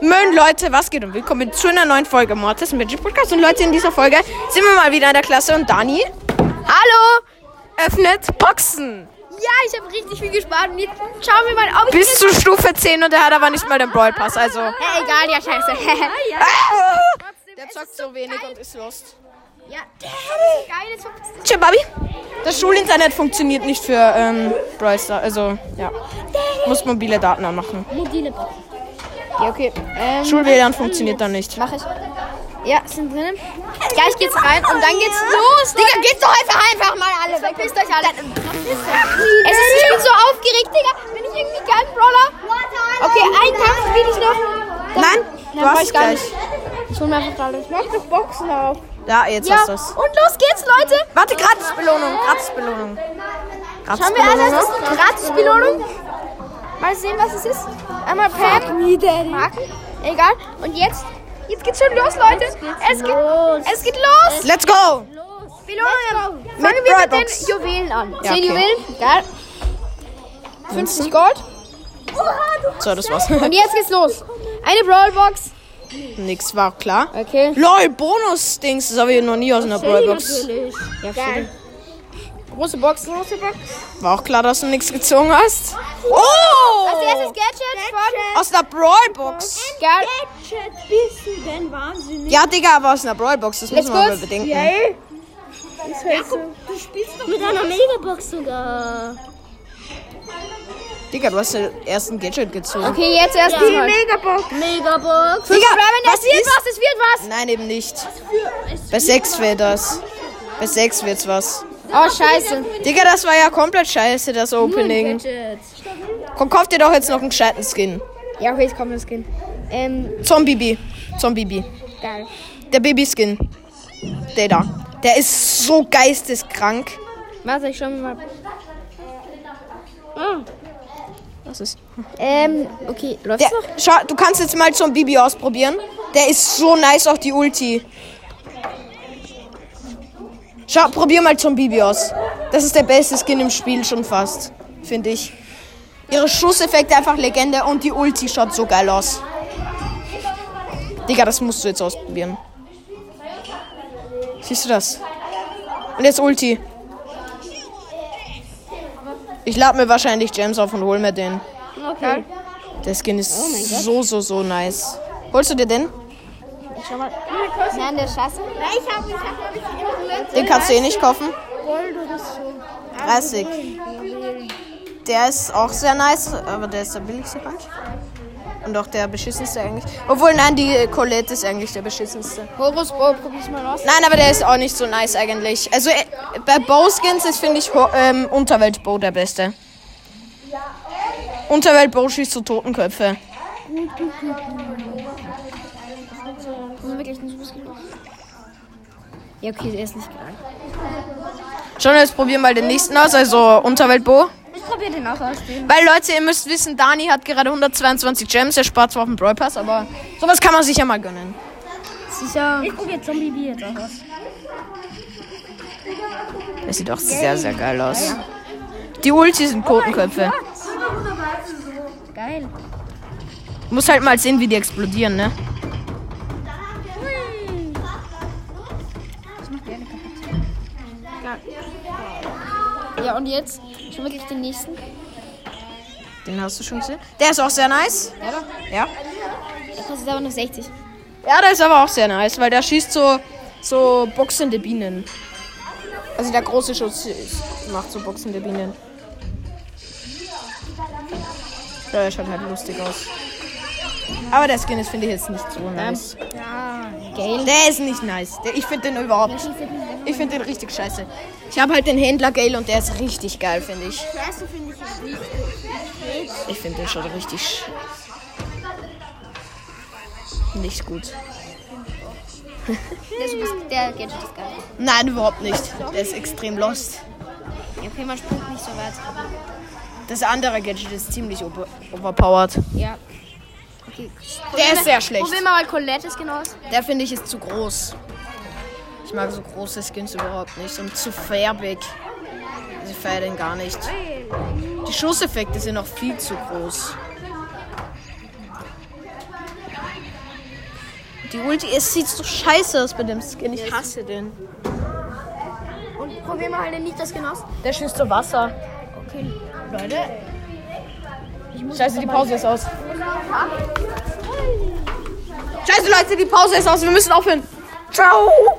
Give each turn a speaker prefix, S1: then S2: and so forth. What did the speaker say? S1: Moin Leute, was geht und willkommen zu einer neuen Folge Mortis Magic Podcast. Und Leute, in dieser Folge sind wir mal wieder in der Klasse und Dani, hallo, öffnet Boxen.
S2: Ja, ich habe richtig viel gespart und jetzt schauen wir mal, ob ich.
S1: Bis zur Stufe 10 und er hat aber nicht mal den Brawl Pass, also.
S2: Hä, Äh, egal, ja, scheiße. ja,
S1: Ah!
S2: trotzdem,
S1: Der
S2: es
S1: zockt
S2: ist
S1: so wenig
S2: Geil.
S1: und ist lost.
S2: Ja, geil, das funktioniert.
S1: Tja, Babi. Das Schulinternet funktioniert nicht für ähm, Brawl Stars, also, ja. Muss mobile Daten anmachen.
S2: Mobile Boxen. Ja, okay. Ähm,
S1: Schul-WLAN funktioniert dann nicht.
S2: mach ich. Ja, sind drin. Gleich geht's rein und dann geht's los. Digga, geht's doch einfach, einfach mal alle weg. Verpisst euch alle. Es ist, ich bin so aufgeregt, Digga. Bin ich irgendwie geil, Brawler? Okay, einen Kampf spiele ich noch. Dann-
S1: Nein, du
S2: dann brauch
S1: hast
S2: ich gar
S1: gleich.
S2: nicht. Ich hol mir einfach gerade. Ich mach doch Boxen auf.
S1: Ja, jetzt
S2: Ja,
S1: hast
S2: und
S1: du es.
S2: los geht's, Leute.
S1: Warte, Gratisbelohnung, Gratisbelohnung.
S2: Schauen wir
S1: Gratisbelohnung.
S2: an, das ist eine Gratisbelohnung. Mal sehen, was es ist. Einmal Pam. Marken. Egal. Und jetzt, jetzt geht's schon los, Leute. Es geht los. Es geht los.
S1: Let's go!
S2: Belohnungen.
S1: Mit
S2: Fangen wir mit
S1: Brawlbox.
S2: den Juwelen an.
S1: Ja,
S2: 10
S1: okay.
S2: Juwelen. Geil. 50 Gold.
S1: So, das war's.
S2: Und jetzt geht's los. Eine Brawlbox.
S1: Nix war klar.
S2: Okay.
S1: LOL, Bonus-Dings, das habe ich noch nie aus einer Brawlbox.
S2: Ja, Geil. Große Box. Große Box.
S1: War auch klar, dass du nichts gezogen hast.
S2: Als erstes
S1: Oh!
S2: Gadget. von-
S1: Aus einer Brawlbox.
S2: Geil.
S3: Chat, bist du denn wahnsinnig?
S1: Ja, Digga, aber aus einer Brawlbox, das muss
S2: Let's
S1: man
S2: go.
S1: mal bedenken.
S3: Mit einer Megabox sogar.
S1: Digga, du hast den ersten Gadget gezogen.
S2: Okay, jetzt erstmal.
S3: Megabox.
S1: Digga,
S2: Robin,
S1: was
S2: es wird
S1: ist?
S2: was, es wird was.
S1: Nein, eben nicht. Bei 6 wäre das. Bei 6 wird's was.
S2: Oh, scheiße.
S1: Digga, das war ja komplett scheiße, das Opening. Komm, kauf dir doch jetzt noch einen gescheiten Skin.
S2: Ja, okay, ich komme ins Skin. Ähm,
S1: Zombie-B. Zombie-B.
S2: geil.
S1: Der Babyskin. Der da. Der ist so geisteskrank.
S2: Warte, ich schau mir mal.
S1: Was ist?
S2: Ähm, okay, läuft's
S1: Der,
S2: noch?
S1: schau, du kannst jetzt mal zum Bibi ausprobieren. Der ist so nice, auch die Ulti. Schau, probier mal zum Bibi aus. Das ist der beste Skin im Spiel schon fast, finde ich. Ihre Schusseffekte einfach Legende und die Ulti schaut so geil aus. Digga, das musst du jetzt ausprobieren. Siehst du das? Und jetzt Ulti. Ich lade mir wahrscheinlich Gems auf und hol mir den.
S2: Okay.
S1: Der Skin ist so, so, so nice. Holst du dir den?
S2: Ich schau mal. Nein, der ist scheiße. Ich hab, ich hab, ich hab
S1: Den kannst du eh nicht kaufen. 30. Der ist auch sehr nice, aber der ist der billigste Rank. Und auch der beschissenste eigentlich. Obwohl, nein, die Colette ist eigentlich der beschissenste.
S2: Horus Bo, probier's mal aus.
S1: Nein, aber der ist auch nicht so nice eigentlich. Also äh, bei Bow-Skins ist, finde ich, Ho- ähm, Unterwelt-Bow der beste. Unterwelt-Bow schießt so Totenköpfe.
S2: Das ist wirklich ein super Skin. Ja, okay, der ist nicht geil.
S1: Schon, jetzt probieren wir mal den nächsten aus, also Unterwelt-Bow.
S2: Ich probier den auch aus. Den.
S1: Weil Leute, ihr müsst wissen, Dani hat gerade 122 Gems, er spart zwar auf den Brawl Pass, aber sowas kann man sich ja mal gönnen.
S2: Sicher.
S3: Ich probiere Zombie B jetzt auch aus.
S1: Das sieht auch sehr, sehr geil aus. Die Ulti sind
S2: Oh
S1: Kotenköpfe.
S2: Geil.
S1: Muss halt mal sehen, wie die explodieren, ne?
S2: Ja, und jetzt? Schon wirklich den nächsten?
S1: Den hast du schon gesehen. Der ist auch sehr nice.
S2: Ja, doch.
S1: Ja.
S2: Der kostet aber nur 60.
S1: Ja, der ist aber auch sehr nice, weil der schießt so, so boxende Bienen. Also der große Schuss ist- macht so boxende Bienen. Ja, der schaut halt lustig aus. Aber der Skin ist, finde ich, jetzt nicht so nice.
S2: Geil.
S1: Der ist nicht nice. Der, ich finde den überhaupt nicht. Ich finde den richtig scheiße. Ich habe halt den Händler Gale und der ist richtig geil, finde ich. Ich finde den schon richtig sch- nicht gut.
S2: Der, ist übrigens- der Gadget ist geil.
S1: Nein, überhaupt nicht. Der ist extrem lost.
S2: Ja, okay, man springt nicht so weit.
S1: Das andere Gadget ist ziemlich over overpowered.
S2: Ja. Okay.
S1: Der ist sehr schlecht.
S2: Probier mal Colette ist genau aus.
S1: Der finde ich ist zu groß. Ich mag so große Skins überhaupt nicht und zu färbig. Also ich feiere den gar nicht. Die Schusseffekte sind auch viel zu groß. Die Ulti, es sieht so scheiße aus bei dem Skin. Ich hasse den.
S2: Und probier mal halt nicht das Genoss.
S1: Der schießt so Wasser.
S2: Okay.
S1: Scheiße, die Pause ist aus. Scheiße, Leute, die Pause ist aus. Wir müssen aufhören. Ciao.